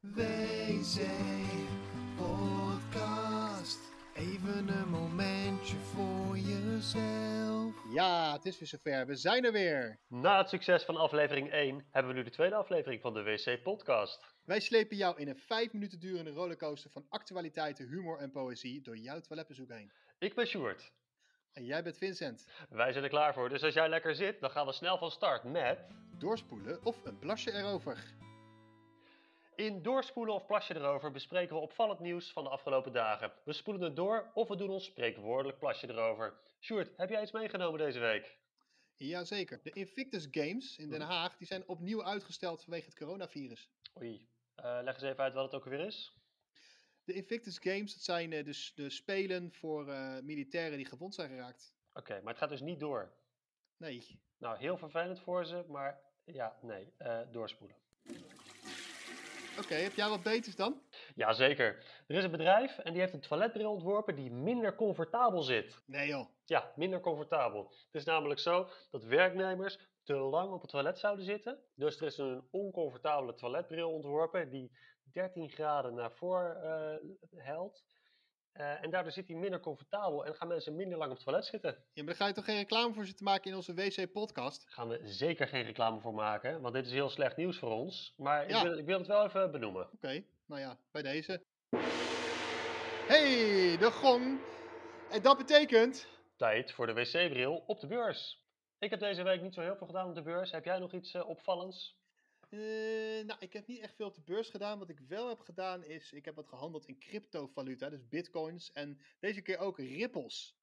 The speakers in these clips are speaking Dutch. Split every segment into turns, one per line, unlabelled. WC Podcast. Even een momentje voor jezelf.
Ja, het is weer zover. We zijn er weer.
Na het succes van aflevering 1 hebben we nu de tweede aflevering van de WC Podcast.
Wij slepen jou in een vijf minuten durende rollercoaster van actualiteiten, humor en poëzie door jouw toiletbezoek heen.
Ik ben Sjoerd.
En jij bent Vincent.
Wij zijn er klaar voor, dus als jij lekker zit, dan gaan we snel van start met...
Doorspoelen of een plasje erover.
In Doorspoelen of Plasje erover bespreken we opvallend nieuws van de afgelopen dagen. We spoelen het door of we doen ons spreekwoordelijk plasje erover. Sjoerd, heb jij iets meegenomen deze week?
Jazeker. De Invictus Games in Den Haag die zijn opnieuw uitgesteld vanwege het coronavirus.
Oei, Eh, leg eens even uit wat het ook weer is.
De Invictus Games, dat zijn eh, de, s- de spelen voor eh, militairen die gewond zijn geraakt.
Oké, maar het gaat dus niet door.
Nee.
Nou, heel vervelend voor ze, maar ja, nee, eh, doorspoelen.
Oké, heb jij wat beters dan?
Jazeker. Er is een bedrijf en die heeft een toiletbril ontworpen die minder comfortabel zit.
Nee joh.
Ja, minder comfortabel. Het is namelijk zo dat werknemers te lang op het toilet zouden zitten. Dus er is een oncomfortabele toiletbril ontworpen die 13 graden naar voren eh, helt. Eh, en daardoor zit hij minder comfortabel en gaan mensen minder lang op het toilet zitten.
Ja, maar daar ga je toch geen reclame voor zitten maken in onze WC Podcast?
Daar gaan we zeker geen reclame voor maken, want dit is heel slecht nieuws voor ons. Maar
Ja.
ik, wil, ik wil het wel even benoemen.
Oké, nou ja, bij deze. Hey, de gong. En dat betekent.
Tijd voor de wc-bril op de beurs. Ik heb deze week niet zo heel veel gedaan op de beurs. Heb jij nog iets eh, opvallends?
eh, nou, ik heb niet echt veel op de beurs gedaan. Wat ik wel heb gedaan is, ik heb wat gehandeld in cryptovaluta, dus bitcoins. En deze keer ook ripples.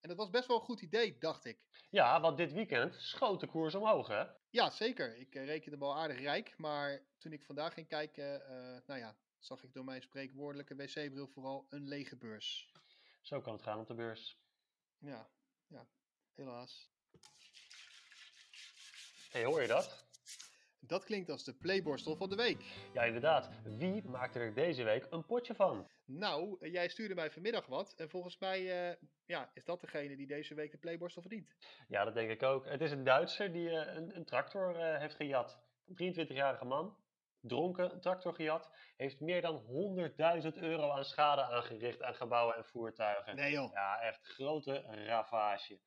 En dat was best wel een goed idee, dacht ik.
Ja, want dit weekend schoot de koers omhoog, hè?
Ja, zeker. Ik eh, rekende hem al aardig rijk. Maar toen ik vandaag ging kijken, eh, nou ja, zag ik door mijn spreekwoordelijke wc-bril vooral een lege beurs.
Zo kan het gaan op de beurs.
Ja, ja, helaas.
Hé, hoor je dat?
Dat klinkt als de playborstel van de week.
Ja, inderdaad. Wie maakte er deze week een potje van?
Nou, eh, jij stuurde mij vanmiddag wat. En volgens mij eh, ja, is dat degene die deze week de playborstel verdient.
Ja, dat denk ik ook. Het is een Duitser die eh, een, een tractor eh, heeft gejat. Een 23-jarige man, dronken, een tractor gejat. Heeft meer dan 100.000 euro aan schade aangericht aan gebouwen en voertuigen.
Nee joh.
Ja, echt grote ravage.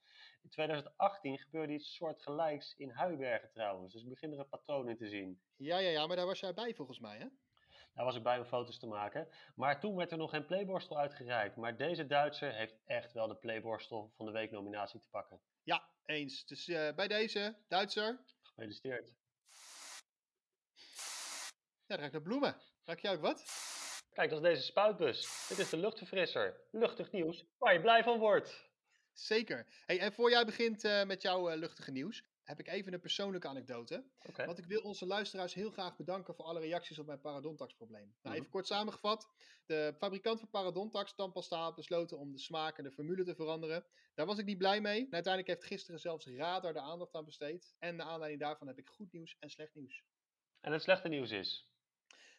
In 2018 gebeurde iets soortgelijks in Huibergen trouwens. Dus ik begin er een patroon in te zien.
Ja, ja, ja, maar daar was jij bij volgens mij, hè?
Daar was ik bij om foto's te maken. Maar toen werd er nog geen playborstel uitgereikt. Maar deze Duitser heeft echt wel de playborstel van de week nominatie te pakken.
Ja, eens. Dus eh, bij deze, Duitser.
Gefeliciteerd.
Ja, dan ruikt naar bloemen. Ruik jij ook wat?
Kijk, dat is deze spuitbus. Dit is de luchtverfrisser. Luchtig nieuws waar je blij van wordt.
Zeker. Hey, en voor jij begint eh, met jouw eh, luchtige nieuws, heb ik even een persoonlijke anekdote.
Oké.
Want ik wil onze luisteraars heel graag bedanken voor alle reacties op mijn parodontax-probleem. Nou,
Mhm.
even kort samengevat. De fabrikant van parodontax, Tampasta, had besloten om de smaak en de formule te veranderen. Daar was ik niet blij mee. En uiteindelijk heeft gisteren zelfs Radar de aandacht aan besteed. En naar aanleiding daarvan heb ik goed nieuws en slecht nieuws.
En het slechte nieuws is.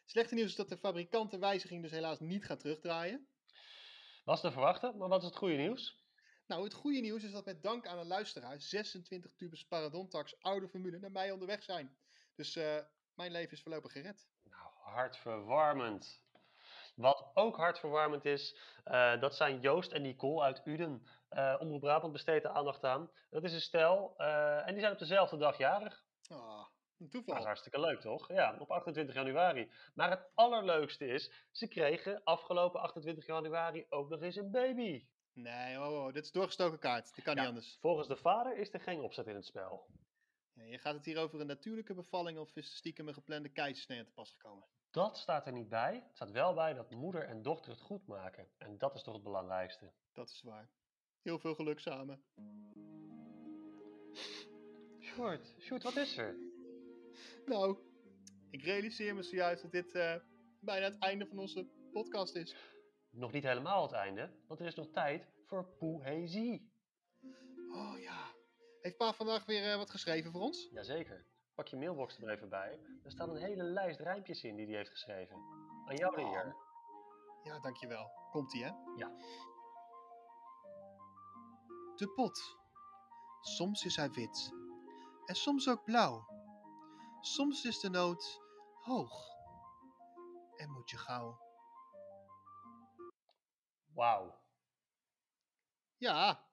Slechte nieuws is dat de fabrikant de wijziging dus helaas niet gaat terugdraaien.
Was te verwachten, maar wat is het goede nieuws?
Nou, het goede nieuws is dat met dank aan een luisteraar 26 tubes parodontax oude formule naar mij onderweg zijn. Dus eh, mijn leven is voorlopig gered.
Nou, hartverwarmend. Wat ook hartverwarmend is, eh, dat zijn Joost en Nicole uit Uden. Eh Omroep Brabant besteedt de aandacht aan. Dat is een stel eh, en die zijn op dezelfde dag jarig.
Ah, een
Dat is
toeval.
hartstikke leuk, toch? Ja, op 28 januari. Maar het allerleukste is, ze kregen afgelopen 28 januari ook nog eens een baby.
Nee, oh, oh, dit is doorgestoken kaart. Dat kan niet
Ja.
anders.
Volgens de vader is er geen opzet in het spel.
Ja, je gaat het hier over een natuurlijke bevalling of is er stiekem een geplande keizersnee aan te pas gekomen?
Dat staat er niet bij. Het staat wel bij dat moeder en dochter het goed maken. En dat is toch het belangrijkste.
Dat is waar. Heel veel geluk samen.
Short, Short, wat is er?
Nou, ik realiseer me zojuist dat dit eh, bijna het einde van onze podcast is.
Nog niet helemaal het einde, want er is nog tijd voor poëzie.
Oh ja. Heeft Pa vandaag weer eh, wat geschreven voor ons?
Jazeker. Pak je mailbox er maar even bij. Er staan een hele lijst rijmpjes in die hij heeft geschreven. Aan jou de eer.
Ja, dankjewel. Komt-ie, hè?
Ja.
De pot. Soms is hij wit. En soms ook blauw. Soms is de noot hoog.
en moet je gauw.
Wauw.
Ja,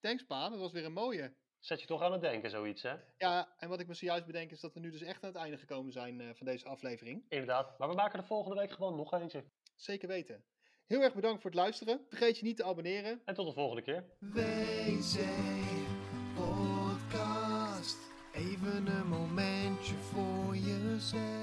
thanks pa, dat was weer een mooie.
Zet je toch aan het denken, zoiets, hè?
Ja, en wat ik me zojuist bedenk is dat we nu dus echt aan het einde gekomen zijn eh, van deze aflevering.
Inderdaad. Maar we maken er volgende week gewoon nog eentje.
Zeker weten. Heel erg bedankt voor het luisteren. Vergeet je niet te abonneren.
En tot de volgende keer.
WC Podcast. Even een momentje voor jezelf.